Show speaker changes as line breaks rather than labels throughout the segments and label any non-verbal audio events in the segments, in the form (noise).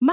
ما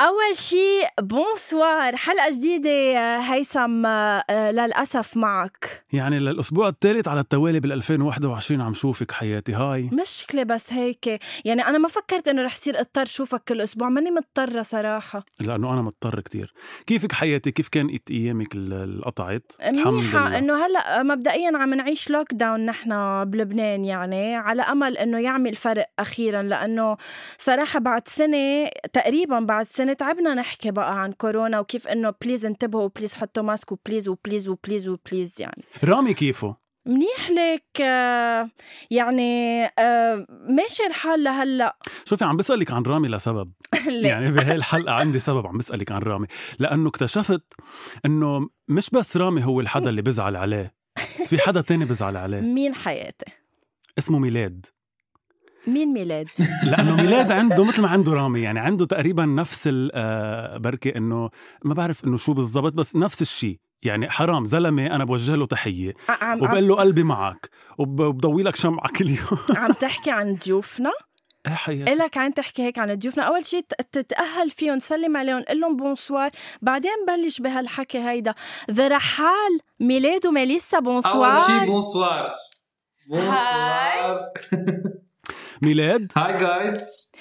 أول شيء بونسوار حلقة جديدة آه، هيثم آه، آه، للأسف معك
يعني للأسبوع الثالث على التوالي بال 2021 عم شوفك حياتي هاي
مشكلة بس هيك يعني أنا ما فكرت إنه رح يصير اضطر شوفك كل أسبوع ماني مضطرة صراحة
لأنه أنا مضطر كتير كيفك حياتي كيف كانت أيامك ال- اللي قطعت
منيحة إنه هلا مبدئيا عم نعيش لوك داون نحن بلبنان يعني على أمل إنه يعمل فرق أخيرا لأنه صراحة بعد سنة تقريبا بعد سنة تعبنا نحكي بقى عن كورونا وكيف إنه بليز انتبهوا وبليز حطوا ماسك وبليز وبليز وبليز وبليز يعني
رامي كيفه
منيح لك آه، يعني آه، ماشي الحال لهلا
شوفي عم بسألك عن رامي لسبب
ليه؟
يعني بهاي الحلقة عندي سبب عم بسألك عن رامي لأنه اكتشفت أنه مش بس رامي هو الحدا اللي بزعل عليه في حدا تاني بزعل عليه
مين حياتي
اسمه ميلاد
مين ميلاد
لانه ميلاد عنده مثل ما عنده رامي يعني عنده تقريبا نفس ال- آه، بركي انه ما بعرف انه شو بالضبط بس نفس الشيء يعني حرام زلمه انا بوجه له تحيه
ع- عم عم,
وبقول له قلبي معك وب- وبضوي لك شمعه كل يوم (laughs)
عم تحكي عن ضيوفنا
إيه حياتي
إلك عين تحكي هيك عن ضيوفنا أول شيء ت- تتأهل فيهم سلم عليهم قل لهم بونسوار بعدين بلش بهالحكي هيدا ذا رحال ميلاد وميليسا
اول
بونسوار
شيء بونسوار بونسوار
ميلاد
هاي جايز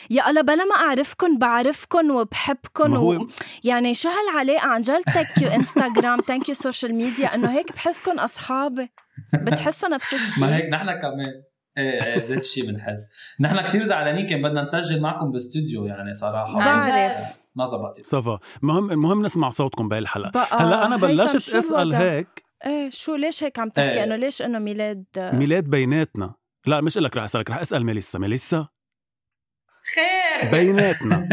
يا الله بلا ما أعرفكن بعرفكن وبحبكن
ما
و...
هو
يعني شو هالعلاقة عن جد ثانك يو (laughs) انستغرام ثانك يو سوشيال ميديا انه هيك بحسكن اصحابي بتحسوا نفس
ما
الشيء
هيك نحن كمان ايه ايه زيت الشيء بنحس نحن كثير زعلانين كان بدنا نسجل معكم باستوديو يعني صراحه
بعرف.
ما زبطت
صفا مهم المهم نسمع صوتكم بهي الحلقه
بقى
هلا انا
آه، هيثم،
بلشت
شو
اسال
الوضع؟
هيك
ايه شو ليش هيك عم تحكي
إيه.
انه ليش انه ميلاد
آه.
ميلاد بيناتنا لا مش لك رح اسالك رح اسال ميليسا ميليسا
خير
بيناتنا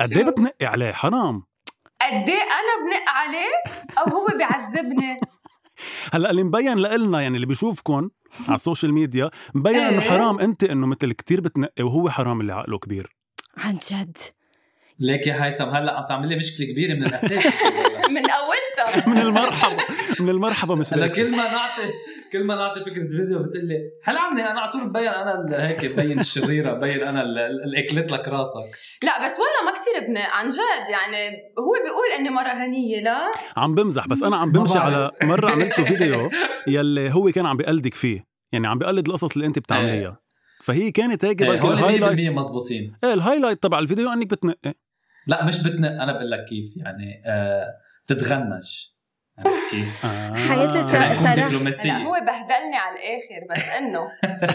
قد إيه
(laughs) شو؟
بتنقي عليه حرام
قد ايه انا بنق عليه او هو بيعذبني
هلا اللي مبين لإلنا يعني اللي بيشوفكم على السوشيال ميديا مبين انه
إيه.
حرام انت انه مثل كتير بتنقي وهو حرام اللي عقله كبير
عن جد
ليك يا هيثم هلا عم تعمل لي مشكله كبيره من الاساس
من اولتها
من المرحبا من المرحبا مش
هلا
لاقي.
كل ما نعطي كل ما نعطي فكره فيديو بتقول لي هل عني انا على طول مبين انا ال- هيك مبين الشريره مبين انا ال- ال- اللي اكلت لك راسك
لا بس والله ما كتير بنق عن جد يعني هو بيقول اني مرة هنية لا
عم بمزح بس انا عم بمشي
ما
على مره
(laughs)
عملت فيديو يلي هو كان عم بقلدك فيه يعني عم بقلد القصص اللي انت بتعمليها فهي كانت هيك
إيه،
بركي
هول
الهايلايت
100% مزبوطين
ايه الهايلايت تبع الفيديو انك بتنقي
لا مش بتنق انا بقول لك كيف يعني آه تتغنج عرفت كيف؟
آه.
حياتي
بدنا
سر-
نكون
صراحة-
هلا
دبلوماسية
هو بهدلني على الاخر بس انه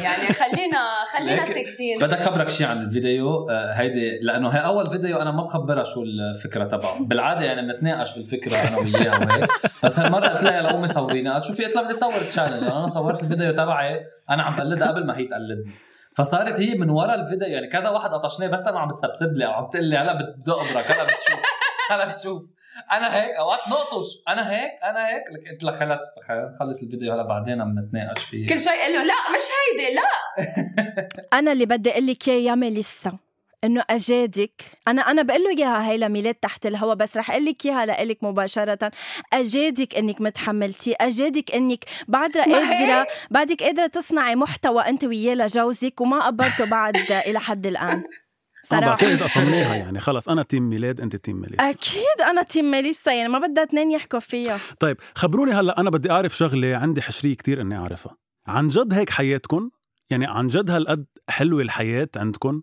يعني خلينا خلينا
لكن-
ساكتين
بدي اخبرك شيء عن الفيديو آه، هيدي لانه هي اول فيديو انا ما بخبرها شو الفكره تبعه بالعاده يعني بنتناقش بالفكره انا وياها وهيك بس هالمره قلت لها لامي صوريني قالت شوفي قلت لها بدي صور تشالنج انا صورت الفيديو تبعي انا عم بقلدها قبل ما هي تقلدني فصارت هي من ورا الفيديو يعني كذا واحد قطشناه بس انا عم بتسبسب لي عم تقول لي هلا بدق امرك هلا بتشوف هلا بتشوف انا هيك اوقات نقطش انا هيك انا هيك لك- قلت لها خلص خلص نخلص الفيديو هلا بعدين عم نتناقش فيه
كل شيء قال له لا مش هيدي لا
انا اللي بدي اقول لك اياه يا ميليسا انه اجادك انا انا بقول له اياها هي لميلاد تحت الهوا بس رح اقول لك اياها لإلك مباشره اجادك انك متحملتي اجادك انك بعد
ما هيك؟
قادره بعدك قادره تصنعي محتوى انت وياه لجوزك وما قبرته بعد (laughs) الى حد الان
انا
صراحه
بعتقد قسمناها يعني خلص انا تيم ميلاد انت تيم ميلاد
اكيد انا تيم ميليسا يعني ما بدها اثنين يحكوا فيها
طيب خبروني هلا انا بدي اعرف شغله عندي حشريه كتير اني اعرفها عن جد هيك حياتكم يعني عن جد هالقد حلوه الحياه عندكم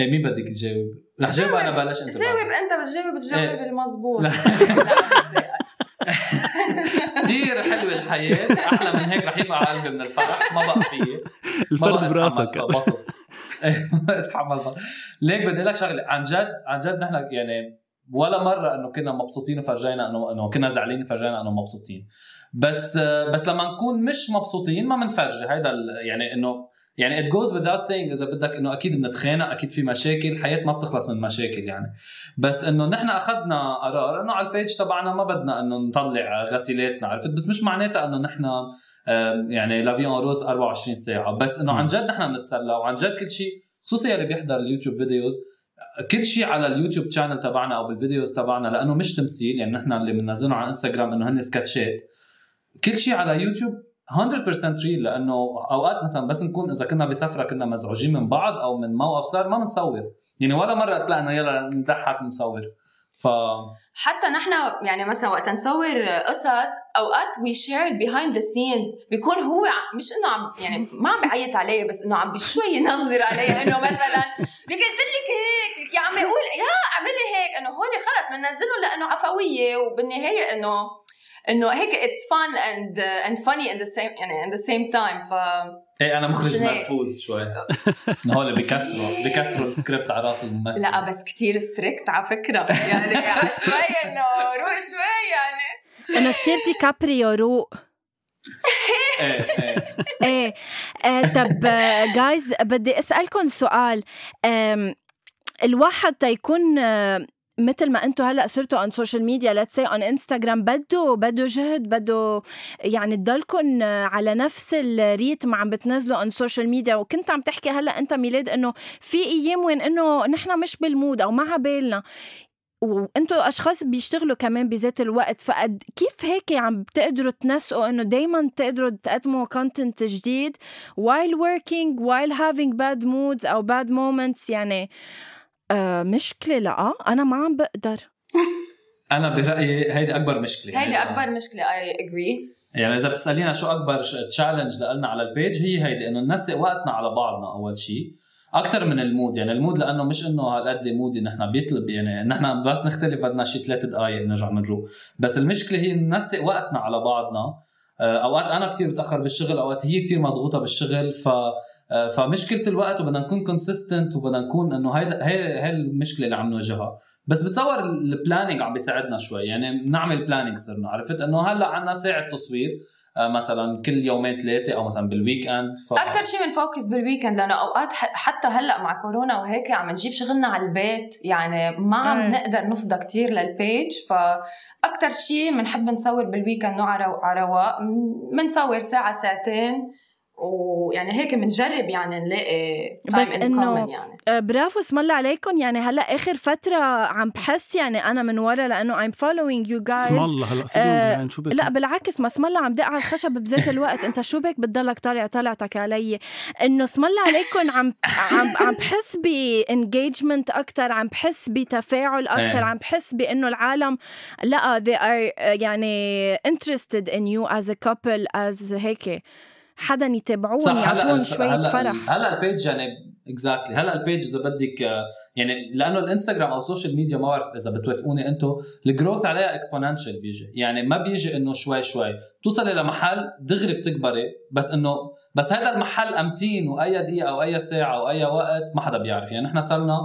ايه مين بدك تجاوب؟ رح جاوب
جاوب.
انا بلاش انت
جاوب انت بتجاوب تجاوب
إيه. (laughs)
المزبوط
لا.
لا،
كثير حلوه الحياه احلى من هيك رح يقع قلبي من الفرح ما بقى فيي ما بقى
الفرد براسك
أتحمل بسط. إيه، (laughs) ما أتحمل بسط. ليك بدي اقول لك شغله عن جد عن جد نحن يعني ولا مره انه كنا مبسوطين وفرجينا انه انه كنا زعلانين فرجينا انه مبسوطين بس آه، بس لما نكون مش مبسوطين ما بنفرجي هيدا ال- يعني انه يعني it goes without saying اذا بدك انه اكيد بنتخانق اكيد في مشاكل الحياه ما بتخلص من مشاكل يعني بس انه نحن اخذنا قرار انه على البيج تبعنا ما بدنا انه نطلع غسيلاتنا عرفت بس مش معناتها انه نحن آم، يعني لافي اون روز 24 ساعه بس انه
مم.
عن جد نحن بنتسلى وعن جد كل شيء خصوصي اللي بيحضر اليوتيوب فيديوز كل شيء على اليوتيوب شانل تبعنا او بالفيديوز تبعنا لانه مش تمثيل يعني نحن اللي بننزلهم على انستغرام انه هن سكتشات كل شيء على يوتيوب 100% ريل لانه اوقات مثلا بس نكون اذا كنا بسفره كنا مزعوجين من بعض او من موقف صار ما بنصور يعني ولا مره طلعنا يلا نضحك نصور ف
حتى نحن يعني مثلا وقت نصور قصص اوقات وي شير بيهايند ذا سينز بيكون هو ع- مش انه عم يعني ما عم بعيط علي بس انه عم بشوي ينظر علي انه مثلا لك قلت لك هيك لك يا عمي قول لا اعملي هيك انه هول خلص بننزلهم لانه عفويه وبالنهايه انه انه هيك اتس فان اند اند فاني ان ذا سيم يعني ان ذا سيم تايم ف
ايه انا مخرج
مش هيك.
مرفوز شوي هول بكسروا بكسروا السكريبت على راس الممثل
لا بس كتير ستريكت على فكره يعني على شوي انه روق شوي يعني
انه كثير دي كابريو روق
ايه ايه
ايه آه، طب جايز بدي اسالكم سؤال آم، الواحد تيكون آه، مثل ما انتم هلا صرتوا اون سوشيال ميديا ليتس سي اون انستغرام بده بده جهد بده يعني تضلكم على نفس الريتم عم بتنزلوا اون سوشيال ميديا وكنت عم تحكي هلا انت ميلاد انه في ايام وين انه نحن مش بالمود او ما عبالنا وانتوا اشخاص بيشتغلوا كمان بذات الوقت فقد كيف هيك عم بتقدروا تنسقوا انه دائما تقدروا تقدموا كونتنت جديد while working while having bad moods او bad moments يعني آه مشكله لا انا ما عم بقدر
انا برايي هيدي اكبر مشكله
هيدي
يعني-
اكبر مشكله اي اجري
يعني اذا بتسالينا شو اكبر تشالنج لنا على البيج هي هيدي انه ننسق وقتنا على بعضنا اول شيء اكثر من المود يعني المود لانه مش انه هالقد مودي نحن بيطلب يعني نحن بس نختلف بدنا شي ثلاث دقائق نرجع نروح بس المشكله هي ننسق وقتنا على بعضنا آه، اوقات انا كتير بتاخر بالشغل اوقات هي كتير مضغوطه بالشغل ف آه، فمشكله الوقت وبدنا نكون كونسيستنت وبدنا نكون انه هيدا هي هي المشكله اللي عم نواجهها بس بتصور البلاننج عم بيساعدنا شوي يعني بنعمل بلاننج صرنا عرفت انه هلا عندنا ساعه تصوير آه، مثلا كل يومين ثلاثه او مثلا بالويك اند ف...
اكثر شيء بنفوكس بالويكند لانه اوقات ح- حتى هلا مع كورونا وهيك عم نجيب شغلنا على البيت يعني ما
إيه.
عم نقدر نفضى كتير للبيج فاكثر شيء بنحب نصور بالويكند نوع على على رواق م- بنصور ساعه ساعتين ويعني هيك بنجرب يعني نلاقي time
بس
in
إنه-
common يعني
آه، برافو اسم الله عليكم يعني هلا اخر فتره عم بحس يعني انا من ورا لانه I'm following you guys
اسم الله هلا صدقهم
آه،
بالعين، شو بك؟
لا بالعكس ما اسم الله عم دق على الخشب بذات الوقت انت شو بك بتضلك طالع طلعتك علي انه اسم الله عليكم عم عم عم بحس بانجيجمنت اكثر عم بحس بتفاعل اكثر
إيه.
عم بحس بانه العالم لا they are آه، يعني interested in you as a couple as هيك حدا يتابعون يعطون
الف-
شويه
هلا
فرح
ال- هلا البيج يعني اكزاكتلي exactly. هلا البيج اذا بدك آه، يعني لانه الانستغرام او السوشيال ميديا ما بعرف اذا بتوافقوني انتم الجروث عليها اكسبوننشال بيجي يعني ما بيجي انه شوي شوي بتوصلي لمحل دغري بتكبري بس انه بس هذا المحل امتين واي دقيقه او اي ساعه او اي وقت ما حدا بيعرف يعني نحن صرنا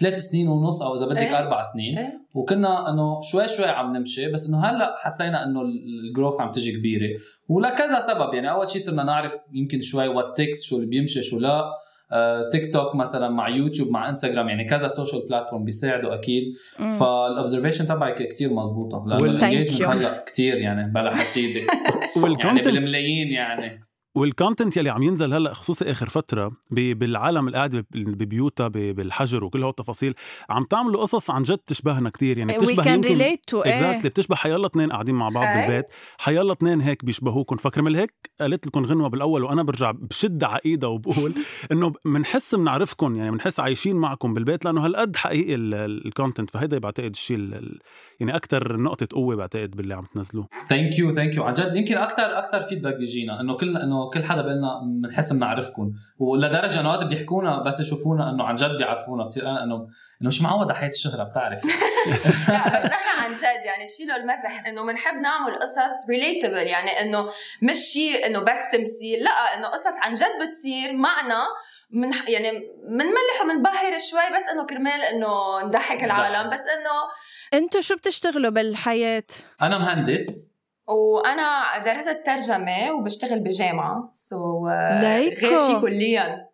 ثلاث سنين ونص او اذا بدك
إيه.
اربع سنين
إيه.
وكنا انه شوي شوي عم نمشي بس انه هلا حسينا انه الجروث عم تجي كبيره ولكذا سبب يعني اول شيء صرنا نعرف يمكن شوي وات تكس شو اللي بيمشي شو لا آه، تيك توك مثلا مع يوتيوب مع انستغرام يعني كذا سوشيال بلاتفورم بيساعدوا اكيد
مم.
فالاوبزرفيشن تبعك كتير مزبوطه لانه
وال-
Thank
الانجيجمنت
you.
هلا كتير يعني بلا
(laughs)
حسيده يعني
والكونتنت
بالملايين يعني
والكونتنت يلي عم ينزل هلا خصوصي اخر فتره ب- بالعالم القاعده ب- ببيوتها ب- بالحجر وكل هالتفاصيل عم تعملوا قصص عن جد بتشبهنا كتير يعني
we
بتشبه
can
يمكن
relate to
اكزاكتلي
ايه
بتشبه حيلا اثنين قاعدين مع بعض
صحيح.
بالبيت حيلا اثنين هيك بيشبهوكم فكرمال هيك قالت لكم غنوه بالاول وانا برجع بشد على ايدها وبقول (laughs) انه بنحس بنعرفكم يعني بنحس عايشين معكم بالبيت لانه هالقد حقيقي الكونتنت فهيدا بعتقد الشيء ال- ال- يعني اكثر نقطه قوه بعتقد باللي عم تنزلوه
ثانك يو ثانك يو عن جد يمكن اكثر اكثر فيدباك بيجينا انه كل انه انه كل حدا بيقلنا بنحس بنعرفكم ولدرجه انه وقت بيحكونا بس يشوفونا انه عن جد بيعرفونا بتصير انا انه انه مش معود على حياه الشهره بتعرف (laughs)
لا بس نحن عن جد يعني شيلوا المزح انه بنحب نعمل قصص ريليتبل يعني انه مش شيء انه بس تمثيل لا انه قصص عن جد بتصير معنا من يعني منملح ومنبهر شوي بس انه كرمال انه نضحك العالم بس انه
انتو شو بتشتغلوا بالحياة؟
انا مهندس
وانا درست ترجمه وبشتغل بجامعه سو
ليكو.
غير شيء كليا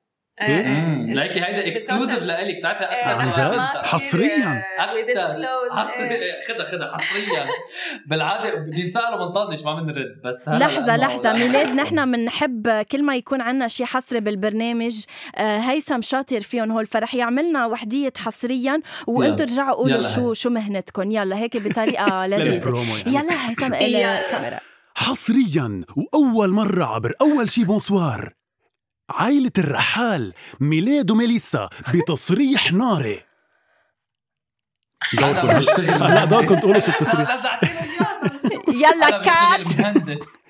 إيه؟
امم ليكي
(laughs)
هيدا اكسكلوزيف لإلك بتعرفي
إيه،
عن
أكتر-
جد؟ حصرياً.
Uh, إيه.
حصريا خدها خدها حصريا بالعاده بنسالوا بنطنش ما بنرد بس هلا
لحظة
لأنه-
لحظة ميلاد (laughs) نحن بنحب كل ما يكون عنا شي حصري بالبرنامج آه، هيثم شاطر فيهم هول فرح يعملنا وحدية حصريا وانتو
يلا.
رجعوا قولوا
يلا
شو
هيثم.
شو مهنتكم يلا هيك بطريقة لذيذة
للبرومو يعني
يلا
(laughs)
هيثم إلى
يلا.
الكاميرا
حصريا واول مره عبر اول شي بونسوار عائلة الرحال ميلاد وميليسا بتصريح ناري دوركم
أنا بشتغل (laughs)
هلا دوركم تقولوا شو التصريح
لزعتيني إياها. أنا
يلا كات
بشتغل مهندس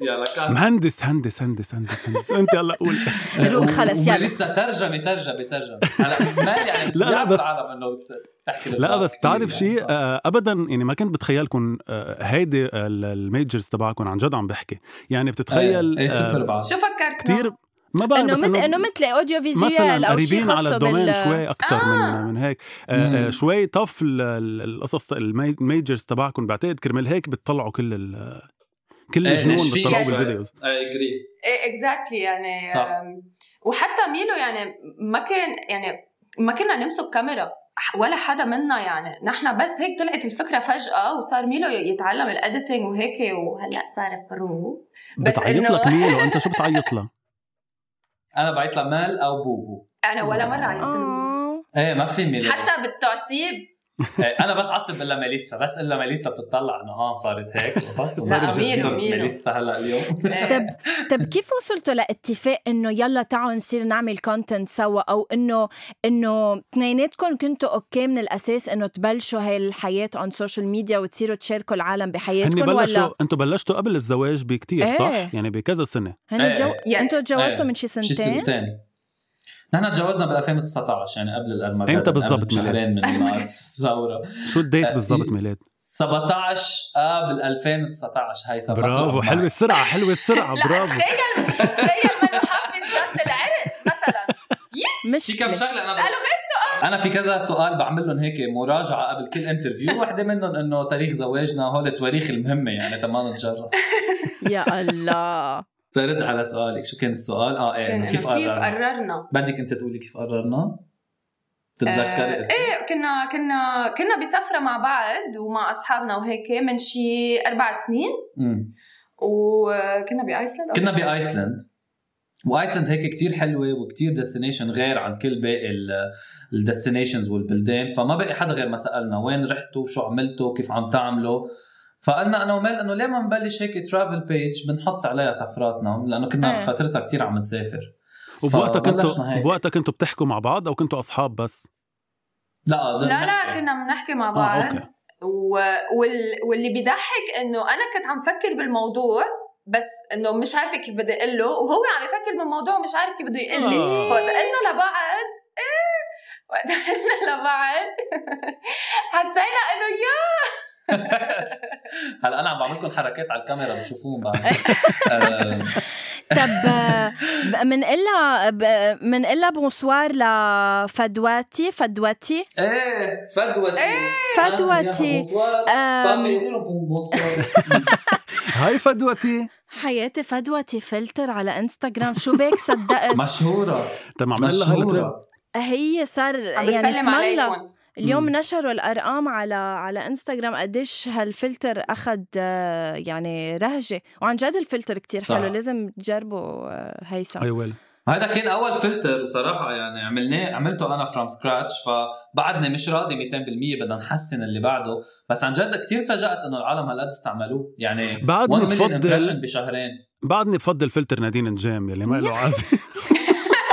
يلا كات
مهندس هندس هندس هندس هندس انت هلا قول
روق خلص،
وما
يلا.
لسه ترجمه ترجمه ترجمه هلا ما يعني
(laughs) لا، لا، بس-
العالم انه تحكي
لا
بالفاضي
بس
كتير
تعرف
يعني.
شيء آه، ابدا يعني ما كنت بتخيلكم آه، هيدي ال- الميجرز تبعكم عن جد عم بحكي يعني بتتخيل
ايه
آه،
سوبر بعض
شو فكرت
كتير ما بعرف
انه
بس
مثل انه مثل اوديو فيزيوال
مثلا
او شيء
قريبين على
خاصه
الدومين
بال
شوي اكثر من من هيك
مم.
آه آه شوي طف ال- ال- القصص المي- الميجرز تبعكم بعتقد كرمال هيك بتطلعوا كل ال كل
إيه،
الجنون
نشفيك
بتطلعوا
شوي.
بالفيديوز
اي اجري
ايه اكزاكتلي يعني
صح.
أم، وحتى ميلو يعني ما كان يعني ما كنا نمسك كاميرا ح- ولا حدا منا يعني نحن بس هيك طلعت الفكره فجاه وصار ميلو ي- يتعلم الاديتنج وهيك وهلا صار برو بس
بتعيط
إنه-
لك ميلو انت شو بتعيط لها؟
انا بعيط لها مال او بوبو
انا ولا مره عيطت منه.
آه.
ايه ما في ميلاد
حتى بالتعصيب
إيه، انا بس عصب الا ميليسا بس الا ميليسا بتطلع انه اه صارت هيك قصص
لا، أميرو، أميرو.
ميليسا هلا اليوم
إيه.
طب طب كيف وصلتوا لاتفاق انه يلا تعالوا نصير نعمل كونتنت سوا او انه انه اثنيناتكم كنتوا اوكي من الاساس انه تبلشوا هاي الحياه اون سوشيال ميديا وتصيروا تشاركوا العالم
هن
بحياتكم
بلشوا
ولا
انتم بلشتوا قبل الزواج بكتير
إيه.
صح؟ يعني بكذا سنه
هن
إيه.
جو...
Yes.
انتوا تجوزتوا
إيه.
من شي
(laughs) شي
سنتين
سنتين نحن تجوزنا بال 2019 يعني قبل الأرمغ
إمتى بالضبط
شهرين من
(laughs)
ما الثوره
شو الديت
آه،
بالضبط
في-
ميلاد؟
17 اب 2019 هي سبقت
برافو
لأربعة.
حلوه السرعه حلوه السرعه
لا
برافو
تخيل تخيل من محفز ضغط العرس مثلا
في كم
مشكله
شغله انا
اساله غير
انا في كذا سؤال بعمل لهم هيك مراجعه قبل كل
(laughs)
انترفيو وحده منهم انه تاريخ زواجنا هول التواريخ المهمه يعني تما نتجرس
يا الله
ترد على سؤالك شو كان السؤال اه ايه
كان
إنه
إنه
كيف
كيف
قررنا
قررنا
بدك انت تقولي كيف قررنا تتذكري
آه، ايه كنا كنا كنا بسفره مع بعض ومع اصحابنا وهيك من شي اربع سنين
مم.
وكنا بايسلند
كنا بايسلند وايسلند هيك كتير حلوه وكتير ديستنيشن غير عن كل باقي الديستنيشنز والبلدان فما بقي حدا غير ما سالنا وين رحتوا شو عملتوا كيف عم تعملوا فقلنا انا ومال انه ليه ما نبلش هيك ترافل بيج بنحط عليها سفراتنا لانه كنا
إيه.
فترتها كتير عم نسافر
وبوقتها
فبلشنا
كنتوا
هيك.
بوقتها كنتوا بتحكوا مع بعض او كنتوا اصحاب بس؟
لا آه،
لا لا كنا بنحكي مع
اه
بعض
اوكي
و... وال... واللي بيضحك انه انا كنت عم فكر بالموضوع بس انه مش عارفه كيف بدي اقول له وهو عم يفكر بالموضوع مش عارف كيف بده يقول لي
آه.
فوقت قلنا لبعض إيه، وقت قلنا لبعض (laughs) حسينا انه يا
هلا انا عم بعمل لكم حركات على الكاميرا بتشوفوهم بعد
(laughs)
آه،
طب آه، من الا من الا بونسوار لفدواتي فدواتي
ايه فدوتي
إيه.
فدوتي. أم.
إيه،
هاي فدوتي
حياتي فدوتي فلتر على انستغرام شو بك صدقت
مشهورة
تم عمل لها هاي الترند.
مشهورة
هي صار يعني
عم
اسم
بتسلم
الله.
عليكم
اليوم
مم.
نشروا الارقام على على انستغرام قديش هالفلتر اخذ آه، يعني رهجه وعن جد الفلتر كتير
صح. أيوة.
حلو لازم تجربوا آه، هيثم
اي أيوة، ويل
هذا كان أول فلتر بصراحة يعني عملناه عملته أنا فروم سكراتش فبعدني مش راضي 200% بدنا نحسن اللي بعده بس عن جد كثير تفاجأت إنه العالم هالقد استعملوه يعني
بعدني
1 million
بفضل-
impression بشهرين
بعدني بفضل فلتر نادين نجام يلي ما له عازم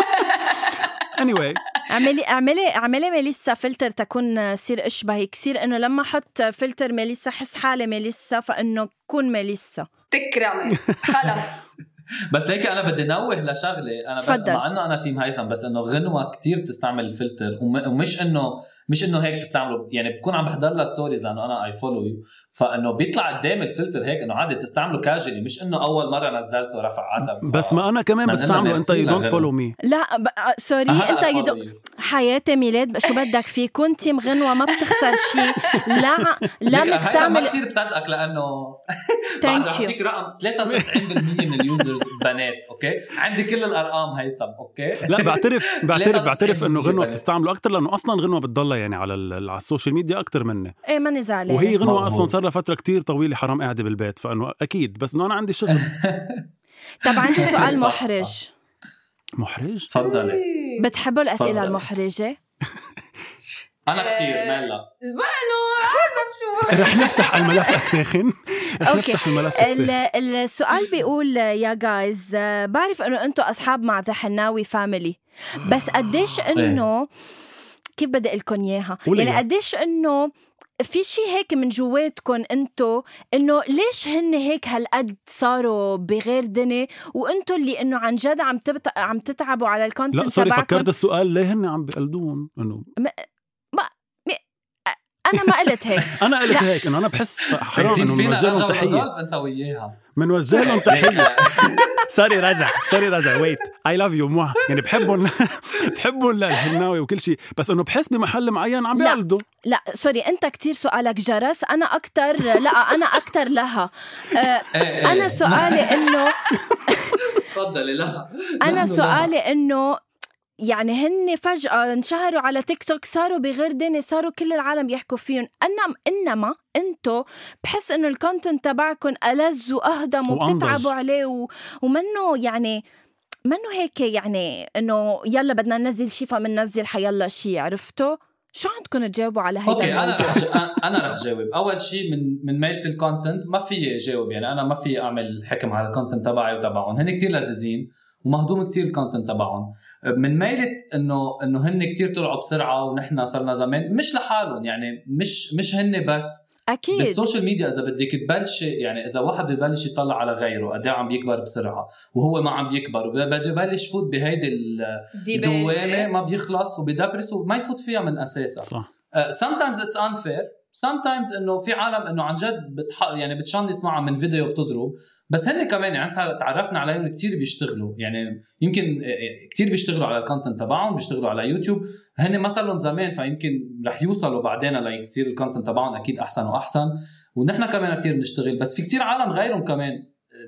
(laughs) anyway
اعملي اعملي اعملي ميليسا فلتر تكون صير اشبهك كثير انه لما احط فلتر ميليسا حس حالي ميليسا فانه كون ميليسا
تكرمي خلص
بس ليك انا بدي نوه لشغله انا بس
تفضل.
مع انه انا تيم هيثم بس انه غنوه كتير بتستعمل الفلتر وم- ومش انه مش انه هيك بتستعمله يعني بكون عم بحضر لها ستوريز لانه انا اي فولو يو فانه بيطلع قدام الفلتر هيك انه عادي بتستعمله كاجولي مش انه اول مره نزلته رفع عتم ف-
بس ما انا كمان
ما أنا
بستعمله انت يو
ناسينا
دونت
غيره.
فولو مي
لا ب... آه، سوري
أها،
انت يدو...
follow you.
حياتي ميلاد شو بدك فيه كنت مغنوة ما بتخسر شيء
(laughs)
لا لا
ليك هيدا ما
نستعمل
كثير بصدقك لانه بعد
ثانك يو
اعطيك رقم 93% من اليوزرز بنات اوكي عندي كل الارقام هيثم اوكي (laughs)
لا بعترف بعترف
93%
بعترف انه غنوه
بالبنات.
بتستعمله اكثر لانه اصلا غنوه بتضلها يعني على ال- على السوشيال ميديا اكثر مني
ايه ماني زعلانة
وهي غنوه
مظبوط.
اصلا صار لها فتره كتير طويله حرام قاعده بالبيت فانه اكيد بس انه انا عندي شغل
أه.
طب عندي سؤال
صح،
محرج
محرج
(laughs) تفضلي
(laughs)
بتحبوا الاسئلة
تفضل.
المحرجة؟
انا كثير مالا
ما انه اعرف (laughs) شو
رح نفتح الملف الساخن رح (laughs)
أوكي.
نفتح الملف
ال-
الساخن
السؤال بيقول يا جايز بعرف انه انتم اصحاب مع ذا حناوي فاميلي بس قديش انه كيف بدي اقول لكم اياها؟
قولي
يعني
إياها.
قديش انه في شيء هيك من جواتكم انتو انه ليش هن هيك هالقد صاروا بغير دني وانتو اللي انه عن جد عم تبت... عم تتعبوا على
لا
الكونتنت
سوري
تبعكم
فكرت السؤال ليه هن عم بقلدون انه
انا ما قلت هيك
انا قلت هيك انه انا
(laughs)
بحس حرام انه
فينا
بنوجه لهم
نرجع
تحيه
للغرف انت وياها
بنوجه
(laughs)
لهم تحيه
ليك لا.
سوري رجع سوري رجع ويت اي لاف يو موا يعني بحبهم (laughs) بحبهم للهناوي وكل شيء بس انه بحس بمحل معين عم
لا.
بيقلدوا
لا سوري انت كتير سؤالك جرس انا اكتر لا انا اكتر لها آه،
(laughs) إيه، إيه.
انا سؤالي
(laughs)
انه
تفضلي لا
انا
نحن
سؤالي انه يعني هن فجأة انشهروا على تيك توك صاروا بغير ديني صاروا كل العالم يحكوا فيهم أنا إنما انتو بحس إنه الكونتنت تبعكم ألذ وأهضم
وأنضج.
وبتتعبوا عليه و... ومنه يعني منه هيك يعني إنه يلا بدنا ننزل شي فمننزل حيلا شي عرفتوا؟ شو عندكم تجاوبوا على هيدا
اوكي انا
الموضوع؟
رح أ- انا رح جاوب اول شيء من من ميله الكونتنت ما في جاوب يعني انا ما في اعمل حكم على الكونتنت تبعي وتبعهم هن كثير لذيذين ومهضوم كثير الكونتنت تبعهم من ميلة انه انه هن كثير طلعوا بسرعه ونحن صرنا زمان مش لحالهم يعني مش مش هن بس
أكيد
بالسوشيال ميديا اذا بدك تبلش يعني اذا واحد بده يبلش يطلع على غيره قد إيه عم بيكبر بسرعه وهو ما عم بيكبر وبده يبلش يفوت بهيدي ال-
إيه.
الدوامه ما بيخلص وبدبرس وما يفوت فيها من اساسها
صح
Uh, sometimes it's unfair sometimes انه في عالم انه عن جد بتح... يعني بتشنص معها من فيديو بتضرب بس هن كمان يعني تع- تعرفنا عليهم كتير بيشتغلوا يعني يمكن إيه، إيه، كتير بيشتغلوا على الكونتنت تبعهم بيشتغلوا على يوتيوب هن ما صار لهم زمان فيمكن رح يوصلوا بعدين ليصير الكونتنت تبعهم اكيد احسن واحسن ونحن كمان كتير بنشتغل بس في كتير عالم غيرهم كمان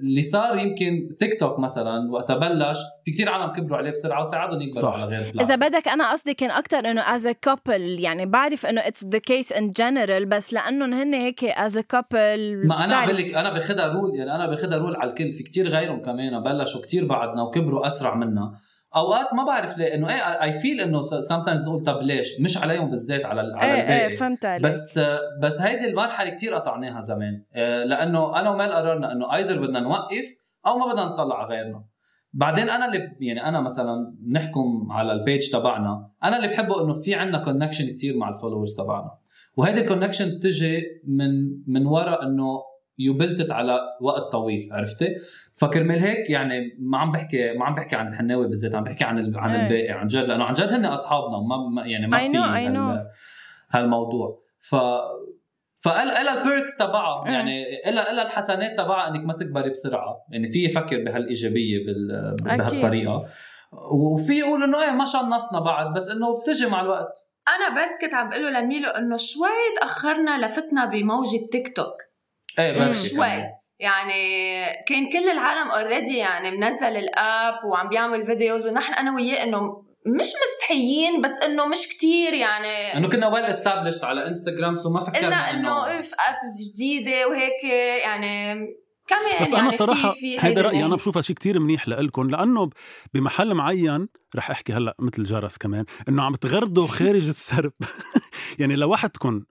اللي صار يمكن تيك توك مثلا وقت بلش في كتير عالم كبروا عليه بسرعه وساعدهم يكبروا
صح.
على غير
اذا
البلاتفورم.
بدك انا قصدي كان اكثر انه از ا كابل يعني بعرف انه اتس ذا كيس ان جنرال بس لانهم هن هيك از ا كابل
ما انا عم لك انا باخذها رول يعني انا باخذها رول على الكل في كتير غيرهم كمان بلشوا كتير بعدنا وكبروا اسرع منا اوقات ما بعرف ليه انه ايه اي فيل انه سام تايمز نقول طب ليش مش عليهم بالذات على ال- على
ايه ايه
الباقي
فهمت عليك
بس بس هيدي المرحله كتير قطعناها زمان آه، لانه انا ومال قررنا انه ايذر بدنا نوقف او ما بدنا نطلع على غيرنا بعدين انا اللي ب- يعني انا مثلا نحكم على البيج تبعنا انا اللي بحبه انه في عندنا كونكشن كتير مع الفولورز تبعنا وهيدي الكونكشن بتجي من من وراء انه يو built it على وقت طويل عرفتي فكرمال هيك يعني ما عم بحكي ما عم بحكي عن الحناوي بالذات عم بحكي عن ال- عن
إيه.
الباقي عن جد لانه عن جد هن اصحابنا ما ما- يعني ما
I
في
know, I
هال-
know.
هالموضوع ف فإلا إلا البيركس تبعها
إيه.
يعني إلا إلا الحسنات تبعها إنك ما تكبري بسرعة يعني في يفكر بهالإيجابية بال... بهالطريقة وفي يقول إنه إيه ما شنصنا بعد بس إنه بتجي مع الوقت
انا بس كنت عم بقول له لميلو انه شوي تاخرنا لفتنا بموجه تيك توك
إيه بركي
مم.
كمان.
شوي يعني كان كل العالم اوريدي يعني منزل الاب وعم بيعمل فيديوز ونحن انا وياه انه مش مستحيين بس انه مش كتير يعني
انه كنا ويل استابلشت على انستغرام سو ما فكرنا
قلنا انه اف ابس جديده وهيك يعني كمان
بس
يعني
انا صراحه
في في هيدي
هيدا رايي انا
النقطة.
بشوفها شيء كتير منيح لإلكم لانه ب- بمحل معين رح احكي هلا مثل جرس كمان انه عم تغردوا خارج السرب (laughs) يعني لوحدكم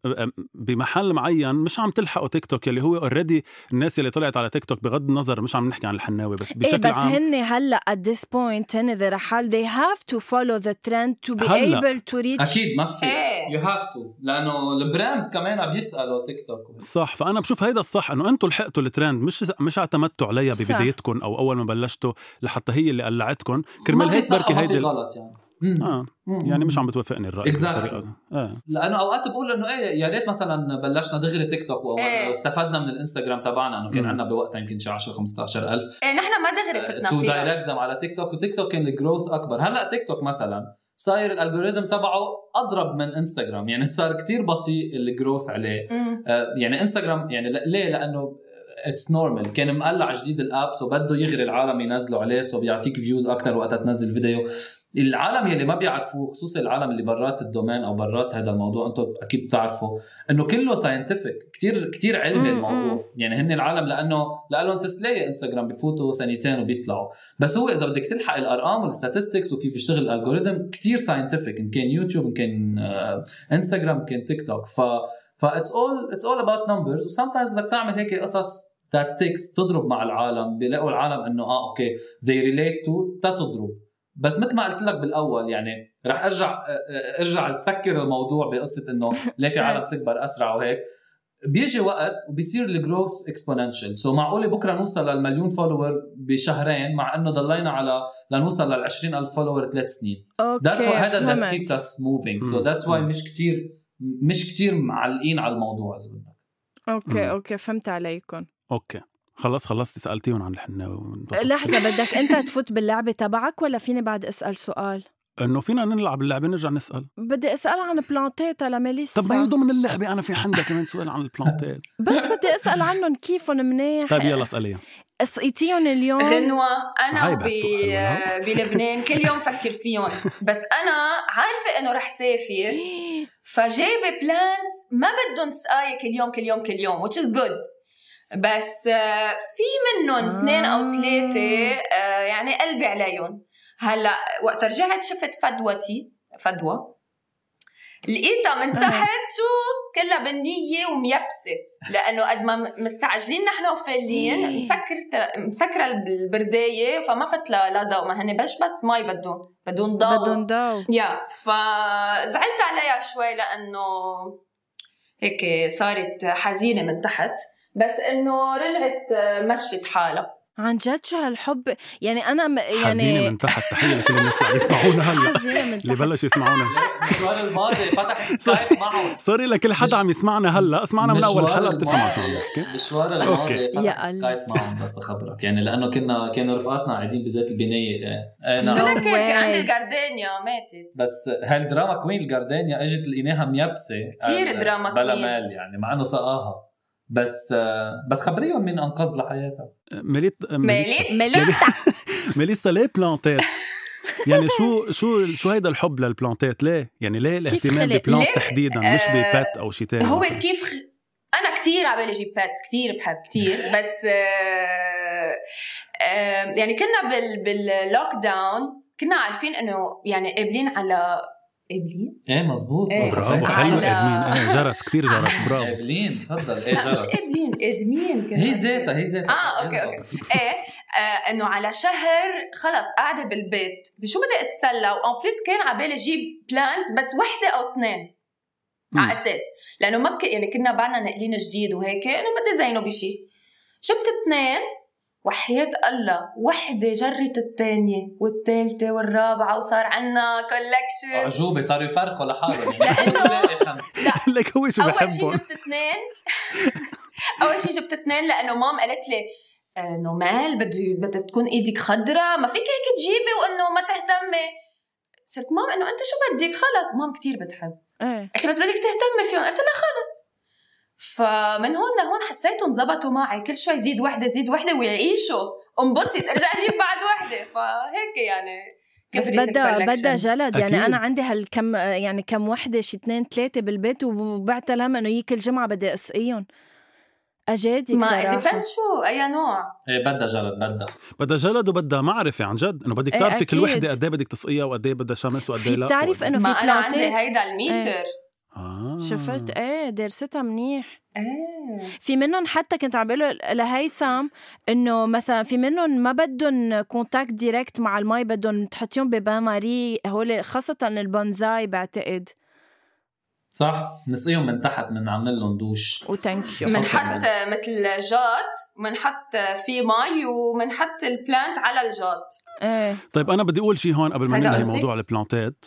بمحل معين مش عم تلحقوا تيك توك يلي هو اوريدي الناس يلي طلعت على تيك توك بغض النظر مش عم نحكي عن الحناوي
إيه،
بس
ايه
بشكل
بس
عام
هن هلا at this point هن ذا رحال they have to follow the trend to be
هلأ.
able to reach
اكيد ما في
إيه.
يو هاف تو لانه البراندز كمان بيسالوا تيك توك
صح فانا بشوف هيدا الصح انه انتم لحقتوا الترند مش إذا مش اعتمدتوا عليها
صح.
ببدايتكم او اول ما بلشتوا لحتى هي اللي قلعتكم كرمال
كرمال
هيك بركي هيدي ال-
غلط يعني مم.
اه
مم.
يعني مش عم بتوافقني الراي
Exactly.
بالطريقة. اه
لانه اوقات بقول انه ايه يا ريت مثلا بلشنا دغري تيك توك واول
إيه.
واستفدنا من الانستغرام تبعنا انه كان
مم.
عندنا بوقتها يمكن شي 10 15000
ايه نحن ما دغري فتنا
آه، تو
فيها
دايركت على تيك توك وتيك توك كان الجروث اكبر هلا تيك توك مثلا صاير الالجوريثم تبعه اضرب من انستغرام يعني صار كتير بطيء الجروث عليه
مم.
آه، يعني انستغرام يعني ل- ليه لانه اتس نورمال كان مقلع جديد الاب سو بده يغري العالم ينزلوا عليه سو بيعطيك فيوز اكثر وقتها تنزل فيديو العالم يلي ما بيعرفوه خصوصا العالم اللي برات الدومين او برات هذا الموضوع انتم اكيد بتعرفوا انه كله ساينتفك كتير كتير علمي
مم، مم.
الموضوع يعني هن العالم لانه لانه انت تلاقي انستغرام بفوتوا سنتين وبيطلعوا بس هو اذا بدك تلحق الارقام والستاتستكس وكيف بيشتغل الالجوريثم كتير ساينتفك ان كان يوتيوب ان كان آه، انستغرام ان كان تيك توك ف فا اتس اول اتس اول اباوت نمبرز وسمتايمز بدك تعمل هيك قصص ذات تيكس تضرب مع العالم بيلاقوا العالم انه اه اوكي they relate to تتضرب بس مثل ما قلت لك بالاول يعني رح ارجع آه، آه، ارجع سكر الموضوع بقصه انه ليه في عالم تكبر اسرع وهيك بيجي وقت وبيصير الجروث اكسبوننشال سو معقوله بكره نوصل للمليون فولور بشهرين مع انه ضلينا على لنوصل لل 20000 فولور ثلاث سنين
اوكي
ذاتس واي هذا ذات
فهمت.
كيبس اس موفينج سو
مم.
ذاتس واي
مم.
مش كتير مش كتير معلقين على الموضوع اذا بدك
مم.
اوكي اوكي فهمت عليكم
اوكي خلص خلصت سالتيهم عن الحناوي وانبسطت.
لحظه بدك انت تفوت باللعبه تبعك ولا فيني بعد اسال سؤال
انه فينا نلعب اللعبه نرجع نسال
بدي اسال عن بلانتيتا لميليسا
طب ما هي ضمن اللعبه انا في عندها كمان سؤال عن البلانتات
بس بدي اسال عنهم كيفهم منيح
طيب يلا اساليها
سقيتيهم اليوم
غنوة أنا
عيب
ب...
هالسؤال، ولا؟
بلبنان كل يوم فكر فيهم بس أنا عارفة إنه رح سافر فجايبة بلانز ما بدهم سقاية كل يوم كل يوم كل يوم which is good بس آه، في منهم
آه.
اثنين او ثلاثة آه، يعني قلبي عليهم هلا وقت رجعت شفت فدوتي فدوة لقيتها من تحت شو كلها بنية وميبسة لأنه قد ما م- مستعجلين نحن وفالين مسكرة مسكرة البرداية فما فت لا لا ضوء ما هن بش بس مي بدهم بدهم (gasps) ضوء
بدهم ضو
يا فزعلت عليها شوي لانه هيك صارت حزينه من تحت بس انه رجعت مشت حالها
عن جد شو هالحب يعني انا م... يعني
حزينه من تحت تحيه لكل الناس اللي عم يسمعونا هلا
حزينة من
(laughs) اللي
تحت.
بلشوا يسمعونا
المشوار الماضي
(laughs)
فتح سكايب معه
سوري لكل حدا عم يسمعنا هلا اسمعنا من اول
مشوار
حلقه بتفهموا
الماضي.
شو عم نحكي
المشوار
أوكي.
الماضي
يا
فتح
الله.
سكايب معهم بس اخبرك يعني لانه كنا كانوا رفقاتنا قاعدين بذات البنايه إيه. إيه،
No
انا
نعم
كان كان
way.
عندي الجاردينيا ماتت
بس هالدراما كوين الجاردانيا اجت لقيناها ميبسه
كتير
قال-
دراما
بلا
كوين.
مال يعني مع انه سقاها بس آه، بس خبريهم مين انقذ لها حياتها
ميليت ميليت-
مالي
مليتا
ميليسا ليه بلانتات يعني شو شو شو هيدا الحب للبلانتات ليه يعني ليه الاهتمام
خلق؟
ببلانت
ليه؟
تحديدا مش
آه،
ببات او شيء تاني
هو
مثلاً؟
كيف خ... انا كتير على بالي جيب باتس كتير بحب كتير بس آه آه يعني كنا بال باللوك داون كنا عارفين انه يعني قابلين على قابلين
ايه مزبوط
إيه.
برافو حلو
على-
ادمين ايه جرس كتير
آه.
جرس برافو (laughs)
قابلين تفضل
(laughs)
ايه
لا مش
جرس
قابلين ادمين كنا
هي ذاتها هي ذاتها إيه،
إيه، آه، أوكي، أوكي. ايه آه انه على شهر خلص قاعده بالبيت بشو بدي اتسلى وان بليس كان على بالي اجيب بلانز بس وحده او اثنين
مم.
على اساس لانه ما ك- يعني كنا بعدنا ناقلين جديد وهيك انه بدي زينه بشي جبت اثنين وحياة الله وحدة جرت الثانية والثالثة والرابعة وصار عنا كولكشن
عجوبة صاروا يفرخوا لحالهم يعني
لأنه-
بتلاقي (laughs) خمس.
لك هو شو
اول شيء
بحبهم
جبت اثنين (laughs) اول شيء جبت اثنين لانه مام قالت لي آه، نومال بده بدها تكون ايدك خضرا ما فيك هيك تجيبي وانه ما تهتمي صرت مام انه انت شو بدك خلص مام كتير بتحب
يعني-
ايه
قالت لي بس بدك تهتمي فيهم قلت لها خلص فمن هون لهون حسيتهم زبطوا معي كل شوي زيد وحده زيد وحده ويعيشوا انبسط ارجع جيب بعد وحده فهيك يعني
بس
كبرت
بدها
الcollection.
بدها جلد
أكيد.
يعني انا عندي هالكم يعني كم وحده شي اثنين ثلاثه بالبيت وبعت الهم انه يجي كل جمعه بدي اسقيهم اجادك
ما
صراحه
ديبند شو اي نوع
ايه بدها جلد بدها
بدها جلد وبدها معرفه عن جد انه بدك
إيه،
تعرفي كل
أكيد.
وحده قد ايه بدك تسقيها وقد ايه بدها شمس وقد ايه
في
لا
بتعرف انه
ما
في إيه.
انا عندي
بلانتات
هيدا الميتر
آه.
شفت ايه درستها منيح
ايه
في منهم حتى كنت عم بقول لهيثم انه مثلا في منهم ما بدهم كونتاكت ديركت مع المي بدهم تحطيهم ببان ماري هول خاصه البونزاي بعتقد
صح نسقيهم من تحت بنعمل لهم دوش
وثانك يو
بنحط مثل جات بنحط فيه مي وبنحط البلانت على الجات
ايه
طيب انا بدي اقول شيء هون قبل ما
هيدا
ننهي
قصدي.
موضوع البلانتات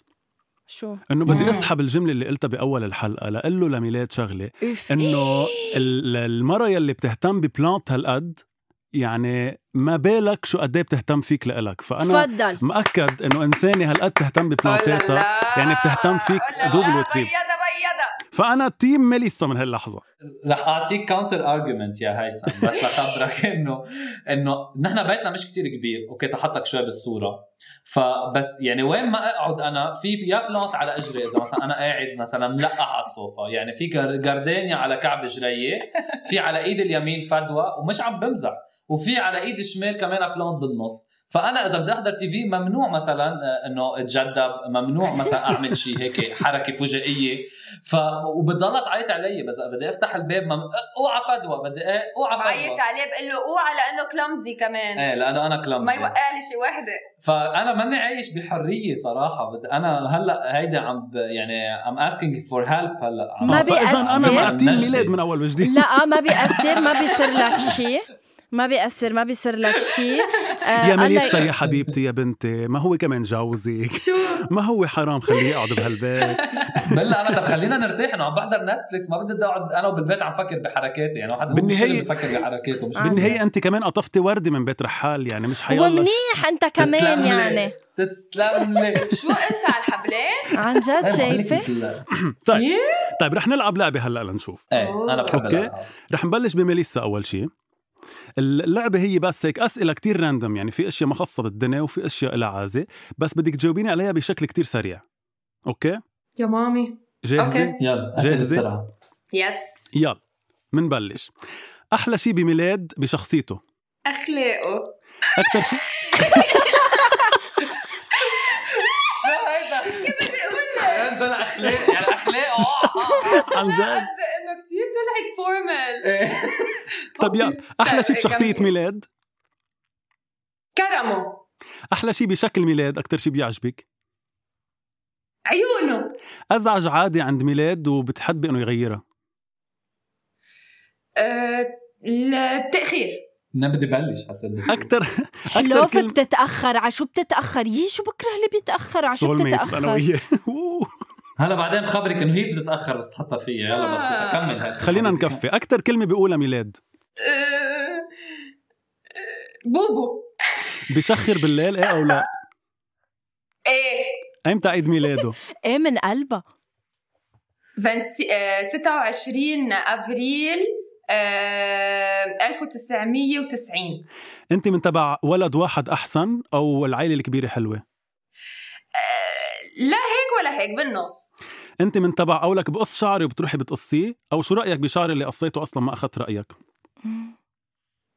شو
انه بدي
مم.
اسحب الجمله اللي قلتها باول الحلقه لقول له لميلاد شغله
اوف
انه
إيه.
ال- المره يلي بتهتم ببلانت هالقد يعني ما بالك شو قد إيه بتهتم فيك لإلك
Eh,
فانا
تفضل
مأكد انه انسانه هالقد تهتم ببلانتاتها يعني بتهتم فيك دوبل وتريبل.
بيضة بيضة
فانا تيم ميليسا من هاللحظه
رح اعطيك كاونتر ارجيومنت يا هيثم بس لخبرك انه انه نحن بيتنا مش كتير كبير اوكي تحطك شوي بالصوره فبس يعني وين ما اقعد انا في يا بلانت على اجري اذا مثلا انا قاعد مثلا ملقح على الصوفه يعني في جر- جاردينيا على كعب جريي في على ايد اليمين فدوى ومش عم بمزح وفي على ايد الشمال كمان بلانت بالنص فانا اذا بدي احضر تي في ممنوع مثلا آه، انه اتجدب ممنوع مثلا اعمل شيء هيك حركه فجائيه ف وبتضلها تعيط علي بس بدي افتح الباب مم... اوعى فدوى بدي إيه، اوعى فدوى
بعيط عليه بقول له اوعى لانه كلمزي كمان
ايه لانه انا كلام
ما يوقع لي شي وحده
فانا ماني عايش بحريه صراحه بد... انا هلا هيدا عم ب... يعني ام asking فور هيلب هلا عم-
ما
آه، فإذاً انا
بيأثر.
مع تيم
نجدة.
ميلاد من اول وجديد
لا ما بيأثر ما بيصير لك شيء ما بيأثر ما بيصير لك شيء (laughs) آه،
يا
الله
ميليسا
ي-
يا حبيبتي يا بنتي ما هو كمان
(laughs)
جوزك
شو
ما هو حرام خليه يقعد بهالبيت
بلا انا طب خلينا نرتاح انه عم بحضر نتفلكس ما بدي اقعد انا وبالبيت عم فكر بحركاتي يعني واحد
بالنهاية-
بالنهايه بفكر بحركاته مش
بالنهايه انت كمان قطفتي ورده من بيت رحال يعني مش حيالله
ومنيح انت كمان
تسلم لي.
يعني
تسلم لي
(laughs)
إيه،
شو انت على الحبلين؟
عن جد شايفه
شايفه؟
طيب
يي.
طيب رح نلعب لعبه هلا لنشوف
ايه انا بحب
أوكي.
الألعاب.
رح نبلش بميليسا اول شيء اللعبة هي بس هيك أسئلة كتير راندوم يعني في أشياء مخصصة بالدنيا وفي أشياء لها عازة بس بدك تجاوبيني عليها بشكل كتير سريع أوكي
يا مامي
جاهزة؟
أوكي.
يلا
جاهزة؟
أسئلة بسرعه
يس
يلا منبلش أحلى شيء بميلاد بشخصيته
اخلاقه
أكتر
(laughs)
شيء
شو هيدا؟ (laughs) كيف بدي اقول لك؟ اخلاق يعني آه، اخلاق
عن جد
قصدي انه كثير طلعت
آه.
(laughs) فورمال
إيه.
طب يلا أحلى شيء
طيب،
بشخصية
كمل.
ميلاد
كرمه
أحلى شيء بشكل ميلاد أكتر شيء بيعجبك
عيونه
أزعج عادة عند ميلاد وبتحبي إنه يغيرها
آه، التاخير
انا بدي بلش حسيت بدي-
(laughs)
أكتر أكتر
لوفة
كلمة
بتتأخر على شو بتتأخر يي شو بكره اللي بيتأخر على شو
soulmates أنا
بتتأخر
وياه (laughs)
هلا بعدين بخبرك انه هي بتتاخر بس تحطها فيا يلا بس اكمل هيك.
خلينا نكفي أكتر كلمة بيقولها ميلاد
آه، آه، بوبو
بشخر بالليل إيه أو لا
ايه
ايمتى عيد ميلاده؟
ايه من قلبها
20 آه، 26 افريل آه، 1990
انت من تبع ولد واحد احسن او العيله الكبيره حلوه؟
آه، لا هيك ولا هيك بالنص
انت من تبع قولك بقص شعري وبتروحي بتقصيه او شو رايك بشعري اللي قصيته اصلا ما اخذت رايك؟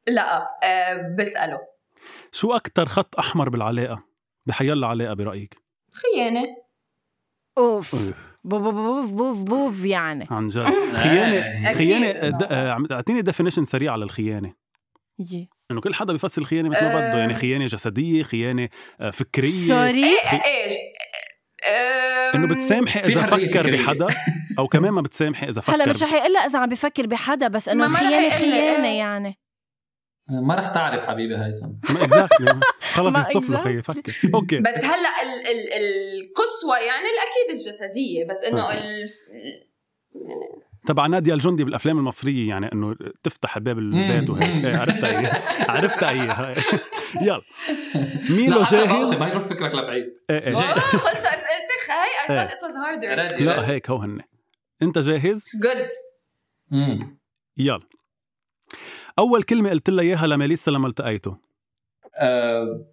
لا آه، بساله
شو اكثر خط احمر بالعلاقه؟ بحيلا علاقه برايك؟
خيانه
اوف
أوف،
بوف بوف بوف بوف يعني
عن جد
آه.
خيانه
أكيد.
خيانه د- آه، عم- اعطيني ديفينيشن سريع للخيانه
يي
انه كل حدا بيفسر الخيانه مثل ما
آه.
بده يعني خيانه جسديه خيانه آه، فكريه
سوري
آه، ايش آه،
انه بتسامحي
في
اذا
حرية
فكر
فكرية.
بحدا او كمان ما بتسامحي اذا فكر
هلا مش رح يقلها اذا عم بفكر بحدا بس انه
ما- ما رح
خيانه
يقلها، إيه.
خيانه يعني
ما رح تعرف حبيبي هيثم
ما
(laughs)
اكزاكتلي خلص
ما
يصطف له
exactly.
خيي فكر اوكي
آه، بس هلا ال- ال- القصوى يعني اكيد الجسديه بس انه ال-
تبع نادية الجندي بالافلام المصريه يعني انه تفتح باب البيت
مم.
وهيك إيه، عرفتها هي عرفتها هي
(laughs)
(laughs) هاي. يلا ميلو
لا حتى بقصة،
جاهز
ما يروح فكرك لبعيد
إيه، إيه.
جاهز.
اوه خلصوا اسئلتك آه، هاي اي ثوت ات واز هاردر
رادي،
لا
رادي.
هيك هو هن انت جاهز
جود
مم.
يلا اول كلمه قلت لها اياها لميليسا لما التقيته
آه،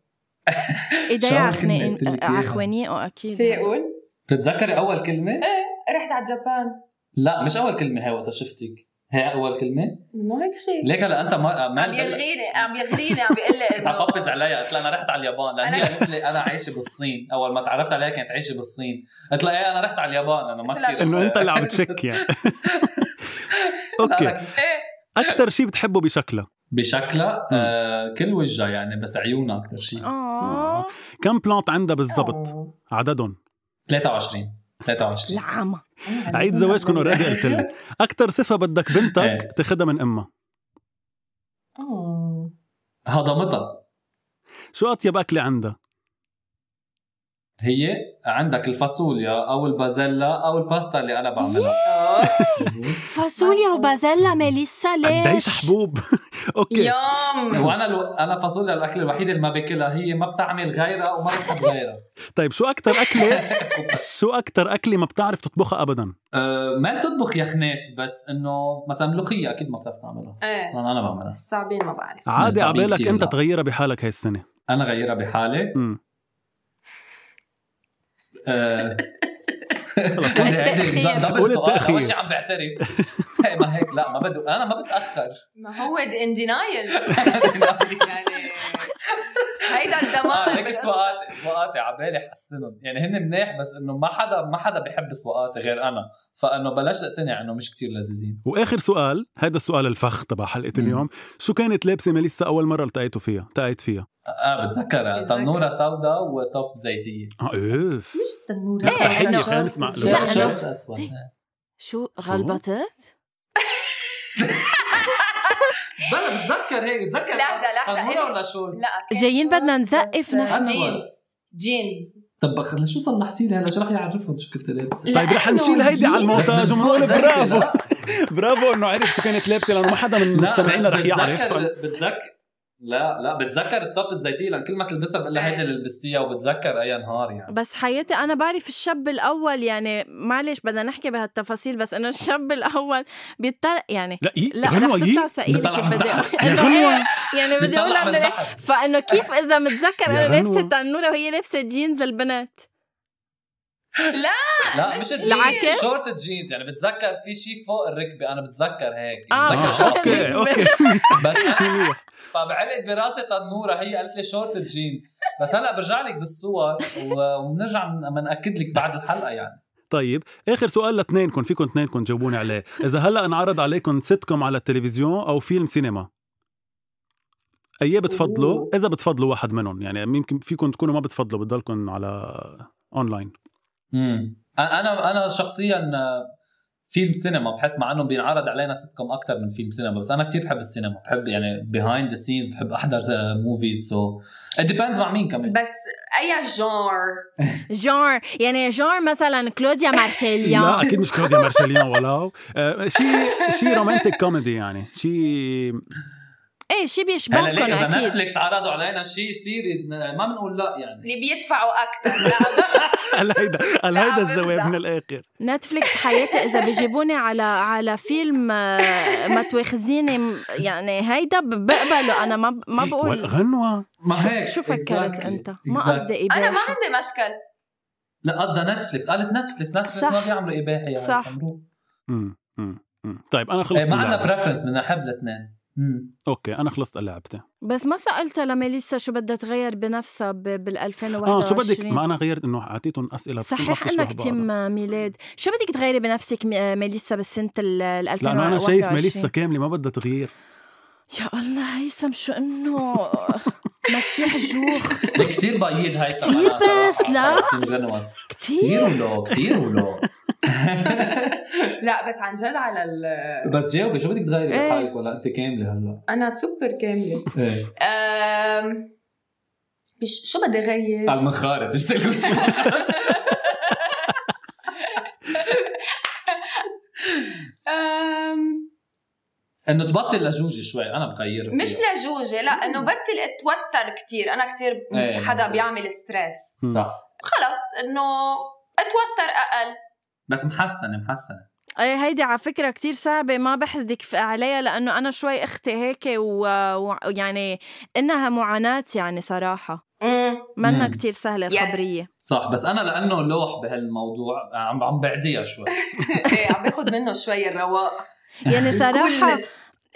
ايديا
شو
على
آخر كلمة قلت لك
خناقين-
إياها؟
على خوانيقه
في
اكيد
اقول
بتتذكري اول كلمه؟
رحت على جابان
لا مش اول كلمه هي وقتها شفتك هي اول كلمه
منه هيك شيء
ليك هلا انت ما آه، ما
عم
بقلك-
يلغيني عم يغريني عم بيقول لي
(laughs)
انه (laughs)
حفظ عليها قلت لها انا رحت على اليابان لان هي
أنا-
قالت لي انا عايشه بالصين اول ما تعرفت عليها كانت عايشه بالصين قلت لها ايه انا رحت على اليابان انا ما
قلت لها
كثير
انه انت اللي عم تشك
(laughs)
يعني اوكي
إيه.
اكثر شيء بتحبه بشكلها
بشكلها آه كل وجهها يعني بس عيونها
آه.
اكثر شيء
اه
كم بلانت عندها بالضبط عددهم
23 23
العامة
عيد زواجكم اوريدي قلت لي اكثر صفه بدك
إيه.
بنتك تاخذها من امها
أوه.
هضمتها
شو اطيب اكله عندها
هي عندك الفاصوليا او البازيلا او الباستا اللي انا بعملها
فاصوليا وبازيلا ميليسا
قديش
ليش؟
حبوب (laughs) اوكي
يوم
وانا الو... انا فاصوليا الاكله الوحيده اللي ما باكلها هي ما بتعمل غيرها وما بتحب
(laughs)
غيرها
طيب شو اكثر
(laughs)
اكله شو اكثر اكله ما بتعرف تطبخها ابدا
أه ما بتطبخ يا خنات بس انه مثلا ملوخيه اكيد ما بتعرف تعملها
ايه
انا أنا بعملها
صعبين ما بعرف
عادي
صعبين
عبالك
كتير،
انت
لا.
تغيرها بحالك هاي السنه
انا غيرها بحالي
امم (laughs)
أه...
خلص
بدي
التأخير.
أعيد- دبل
قول
سؤال
التأخير.
اول شيء عم بعترف (laughs) هي ما هيك لا ما بدو انا ما بتاخر
(laughs)
ما هو ان دينايل (laughs) يعني هيدا
آه،
الدمار
هيك
بالقصة.
سواقاتي سواقاتي عبالي حسنهم يعني هن منيح بس انه ما حدا ما حدا بيحب سواقاتي غير انا فانه بلاش اقتنع انه مش كتير لذيذين
واخر سؤال هذا السؤال الفخ تبع حلقه
مم.
اليوم شو كانت لابسه ميليسا اول مره التقيتوا فيها التقيت فيها
اه بتذكرها
بتذكر.
تنوره سوداء وتوب زيتيه
اه اوف
مش تنورة
لا، إيه، تحية
خالص مع-
لا،
لو-
أنا-
شورت اسود
شو
شو؟
غلبتت؟
بلا بتذكر هيك بتذكر
لحظة، لحظة،
تنوره
إيه.
ولا شورت
لا كان
جايين
شورت
بدنا
بس
نزقف نحن.
جينز جينز
طب أخ- شو صلحتي لي هلا شو رح يعرفهم شو كنت لابسه
لا،
طيب رح
إنه
نشيل هيدي على
(laughs)
المونتاج ونقول
بتذكر،
برافو
لا.
برافو انه عرف شو كانت لابسه لانه ما حدا من
لا،
مستمعينا
بس
رح يعرف
بتذكر بتذكر لا لا بتذكر التوب الزيتيه لان كل ما تلبسها بقول لها هيدي اللي لبستيها وبتذكر اي نهار يعني
بس حياتي انا بعرف الشاب الاول يعني معلش بدنا نحكي بهالتفاصيل بس انه الشاب الاول بيطلع يعني
لا إيه؟
لا
غنوة
رح
يي
تطلع ثقيله
بيطلع
كيف
من
بدي
تحت.
(laughs) إنه
غنوة.
إيه، يعني بدي
بتطلع
اقولها
من
من هيك.
تحت.
فانه كيف اذا متذكر
يا
انا لابسه
غنوة.
تنوره وهي لابسه جينز البنات
لا
مش
مش
جينز.
الجينز
العكس؟
شورت الجينز يعني بتذكر في شيء فوق الركبه انا بتذكر هيك
آه،
بتذكر
آه،
شورت.
(laughs)
اوكي اوكي
بس
أيوة.
فبعلق براسي تنوره هي قالت لي شورت الجينز بس هلا برجع لك بالصور و- وبنرجع من- بنأكد لك بعد الحلقه يعني
طيب اخر سؤال لاثنينكم فيكم اثنينكم تجاوبوني عليه اذا هلا انعرض عليكم ستكم على التلفزيون او فيلم سينما ايه بتفضلوا
أوه.
اذا بتفضلوا واحد منهم يعني يمكن فيكم تكونوا ما بتفضلوا بتضلكم على اونلاين
امم انا انا شخصيا آه، فيلم سينما بحس مع انه بينعرض علينا ستكم اكثر من فيلم سينما بس انا كثير بحب السينما بحب يعني بيهايند ذا سينز بحب آه، احضر موفيز سو ات ديبيندز مع مين كمان
بس اي جور
جار يعني جار مثلا كلوديا
لا
مارشيليان
اكيد مش كلوديا مارشاليان ولا آه، شيء شيء رومانتيك كوميدي يعني (laughs) شيء
ايه شي
هلا ليه
بيشبهكم
اذا
اكيد
نتفليكس عرضوا علينا شيء سيريز ما بنقول لا يعني
اللي بيدفعوا اكثر (laughs) لا
هل هيدا هل
لا،
هيدا
بمزح.
الجواب من الاخر
نتفليكس حياتي اذا بيجيبوني على على فيلم آه، ما تواخذيني م- يعني هيدا بقبله انا ما ب- ما بقول
غنوة
ما هيك
شو فكرت
Exactly.
انت ما
Exactly.
قصدي إباحة.
انا ما عندي مشكل
لا قصدها نتفلكس قالت نتفلكس نتفلكس
صح.
ما بيعملوا اباحي يعني
صح.
سمروه
مم، مم، مم. طيب انا خلصت
إيه ما عندنا
اللعبة.
بريفرنس بدنا نحب الاثنين (laughs)
اوكي انا خلصت لعبتي
بس ما سالتها لميليسا شو بدها تغير بنفسها بال 2021
اه شو بدك ما انا غيرت انه اعطيتهم اسئله بتكون
صحيح
رح تشبه
انك
بعضها.
تم ميلاد شو بدك تغيري بنفسك م- آه، ميليسا بالسنه ال ال
لانه
2021
انا شايف ميليسا كامله ما بدها تغيير
يا الله هيثم شو انه (laughs) مسيح جوخ
كثير بيض هاي سمعة
كتير بس،
صراحة.
لا.
فلسطين غنوة.
كتير
كتير ولو
(laughs)
كتير ولو
لا بس عن جد على ال...
بس جاوبي شو بدك تغيري
إيه.
بحالك ولا انت كامله هلا
انا سوبر كامله
ايه
أم... بش... شو بدي غير؟
على المنخارط اشتغل كل (laughs) شيء
أم...
انه تبطل لجوجي شوي انا بغير
مش لجوجة لا انه بطل اتوتر كتير انا كتير
إيه،
حدا
مزبوط.
بيعمل ستريس
مم.
صح
خلص انه اتوتر اقل
بس محسنه محسنه
ايه هيدي على فكره كتير صعبه ما بحسدك ف- عليها لانه انا شوي اختي هيك و- ويعني انها معاناه يعني صراحه منا
مم.
(laughs)
كتير سهله
Yes.
الخبريه
صح بس انا لانه لوح بهالموضوع عم عم بعديها شوي
ايه عم باخذ منه شوي الرواق (laughs)
يعني صراحه
Coolness.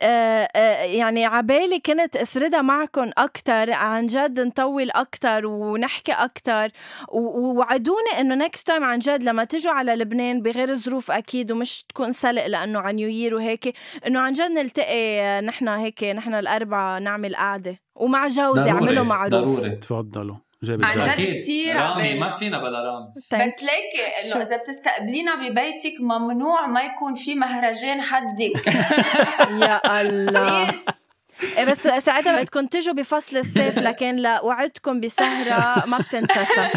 آه، آه، يعني عبالي كنت اسردها معكم اكثر عن جد نطول اكثر ونحكي اكثر ووعدوني انه نكست تايم عن جد لما تجوا على لبنان بغير ظروف اكيد ومش تكون سلق لانه عن نيو يير وهيك انه عن جد نلتقي آه، نحن هيك نحن الاربعه نعمل قعده ومع جوزي
ضروري
اعملوا معروف
ضروري
تفضلوا جاب
عن
الجاي.
جد
أكيد.
كتير
رامي
عبالنا.
ما فينا بلا رامي
بس ليك
شو.
انه اذا بتستقبلينا ببيتك ممنوع ما يكون في مهرجان حدك
(laughs) (laughs) يا
(laughs)
الله
بليز
إيه بس ساعتها بدكم تجوا بفصل الصيف لكن لا وعدكم بسهره ما بتنتسى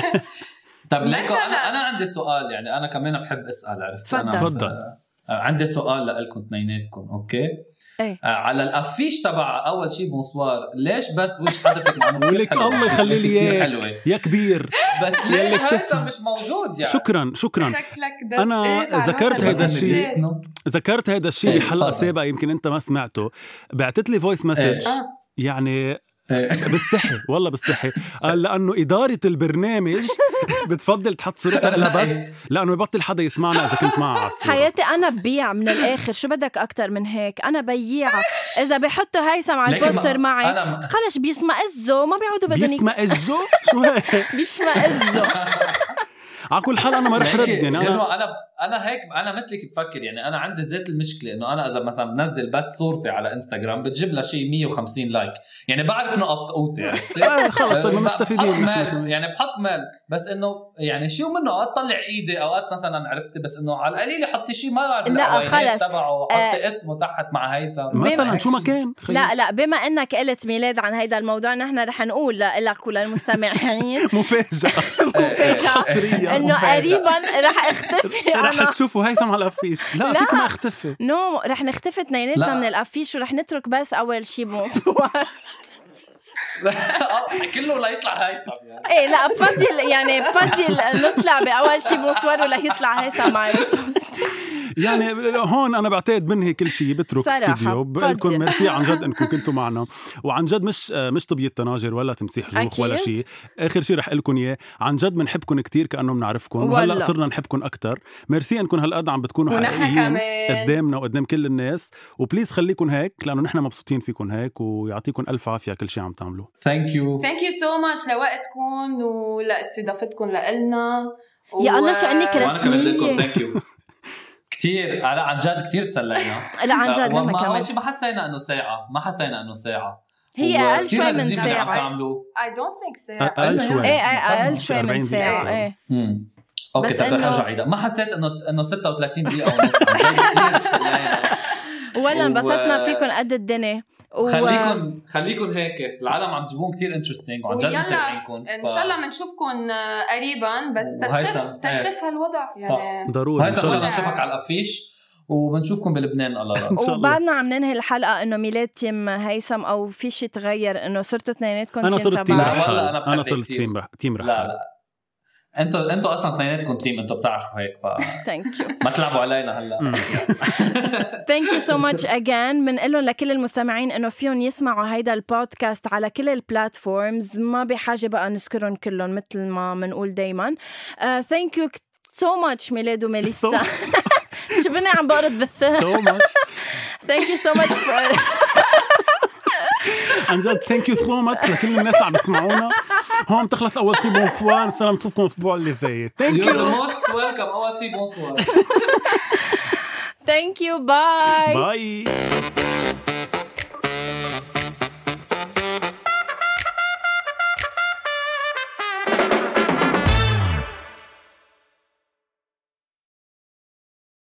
طب ليكو
مثلاً.
انا انا عندي سؤال يعني انا كمان بحب اسال عرفت انا
تفضل.
تفضل.
آه، عندي سؤال لكم اثنيناتكم اوكي
إيه.
آه، على الافيش تبع اول شيء بونسوار ليش بس وجه حضرتك معمول كتير
ولك
حلو؟
الله يخلي لي
كتير
إياه.
حلوه
يا كبير
بس ليش
يلي
هيثم
بتفهم.
مش موجود يعني
شكرا شكرا
شكلك
أنا ذكرت
بس
هيدا
إنه
الشيء.
بيتنا.
ذكرت هيدا الشيء
إيه،
بحلقه
تفضل.
سابقه يمكن انت ما سمعته بعتت لي فويس مسج
إيه.
يعني
إيه.
بستحي والله بستحي قال لانه اداره البرنامج (laughs) بتفضل تحط صورتها لها بس لانه يبطل حدا يسمعنا اذا كنت معها على الصورة.
حياتي انا ببيع من الاخر شو بدك اكثر من هيك انا بياعه اذا بحطوا هيثم على
لكن ما-
البوستر معي
أنا ما-
خلص بيسمئزوا ما بيعودوا بدهم يك-
بيسمع الجو شو هيك
(laughs)
بيشمئزوا
على كل حال انا ما رح رد
هيك
يعني انا
غيره انا انا هيك انا مثلك بفكر يعني انا عندي ذات المشكله انه انا اذا مثلا بنزل بس صورتي على انستغرام بتجيب لها شيء 150 لايك يعني بعرف يعني نقط قوتي عرفتي؟
(laughs) آه، خلص ما
يعني بحط
مستفيدين
مال يعني بحط مال بس انه يعني شو منه اوقات طلع ايدي اوقات مثلا عرفتي بس انه على القليله حطي شيء ما بعرف
لا،
العنوانات
خلص. آه،
تبعه حطي اسمه تحت مع هيثم
مثلا
هيك
شو ما
شي.
كان خيي.
لا لا بما انك قلت ميلاد عن هيدا الموضوع نحن رح نقول لك
(laughs)
وللمستمعين
مفاجأة حصرية
انه
مفاجأة.
قريبا رح
(laughs)
اختفي
إيه، رح
انا
تشوفوا هيثم على الافيش لا,
لا.
فيك ما اختفي
نو رح نختفي
لا.
اثنيناتنا من الافيش ورح نترك بس اول شيء موضوع
(laughs) آه، كله ليطلع هيثم يعني
ايه لا بفضل
(laughs)
يعني بفضل نطلع باول شيء بونسوار ولا يطلع هيثم معي
يعني هون انا بعتقد بنهي كل شيء بترك
صراحة.
استوديو
تفضل.
بقلكم ميرسي عن
(laughs)
جد انكم كنتوا معنا وعن جد مش آه، مش طبية تناجر ولا تمسيح جوخ ولا
أكيد.
شيء اخر شيء رح لكم اياه عن جد بنحبكم كتير كانه بنعرفكم وهلا
والله.
صرنا نحبكم اكثر ميرسي انكم هالقد عم بتكونوا
ونحن
حقيقيين
كمان.
قدامنا وقدام كل الناس وبليز خليكم هيك لانه نحن مبسوطين فيكم هيك ويعطيكم الف عافيه كل شيء عم تعملوه
ثانك يو
ثانك يو سو ماتش لوقتكم ولاستضافتكم لنا
يا الله شو إنك
و-
رس-
وانا كمان بدي
رسمية.
اقول ثانك يو كثير على عن جد كثير تسلينا
لا عن جد
والله
نحن
ما-
كمان
أول شي ما حسينا انه ساعه ما حسينا انه ساعه
هي
و-
اقل
كتير
شوي من
لذيذ اللي عم
ساعه
تعملوه.
I don't think so
اقل
أيوة،
شوي
ايه ايه اقل
صار
شوي من
40 دقيقة
ساعه
صار.
ايه
مم. اوكي
بس
طيب رح
إنه-
ارجع عيدها ما حسيت انه انه 36 دقيقه ونص عن
(laughs)
جد كتير تسلينا.
ولا
و-
انبسطنا فيكم قد الدنيا و-
خليكم خليكم هيك العالم عم تجيبون كثير انترستينج وعن جد
ويلا،
متابعينكم
ان شاء الله بنشوفكم قريبا بس
وهيثم.
تنخف تنخف هالوضع يعني
ضروري
هاي
ان شاء الله
بدنا نشوفك على الافيش وبنشوفكم بلبنان الله
(laughs)
لا
إن شاء الله.
وبعدنا عم ننهي الحلقه انه ميلاد تيم هيثم او في شيء تغير انه صرتوا اثنيناتكم
انا صرت تيم
لا،
تبع
والله
رحال
أنا
انا
بحبك
صرت
كتير.
تيم رح- تيم
لا
رحال
لا انتوا انتوا اصلا اثنيناتكم تيم انتوا بتعرفوا هيك فما
ثانك يو
تلعبوا علينا هلا
مم.
ثانك يو سو
(laughs)
ماتش اجين بنقول لهم لكل المستمعين انه فيهم يسمعوا هيدا البودكاست على كل البلاتفورمز ما بحاجه بقى نذكرهم كلهم مثل ما Uh, بنقول دائما ثانك يو سو ماتش ميلاد
(laughs)
وميليسا شو بني عم بقرض بالثهر
سو ماتش
ثانك يو سو ماتش
عن جد ثانك يو سو ماتش لكل الناس اللي عم يسمعونا هون تخلص اول سي بونسوار صرنا بنشوفكم الاسبوع اللي جاي ثانك
You're
يو
the most welcome. Oh, I see both of us.
ثانك يو باي
باي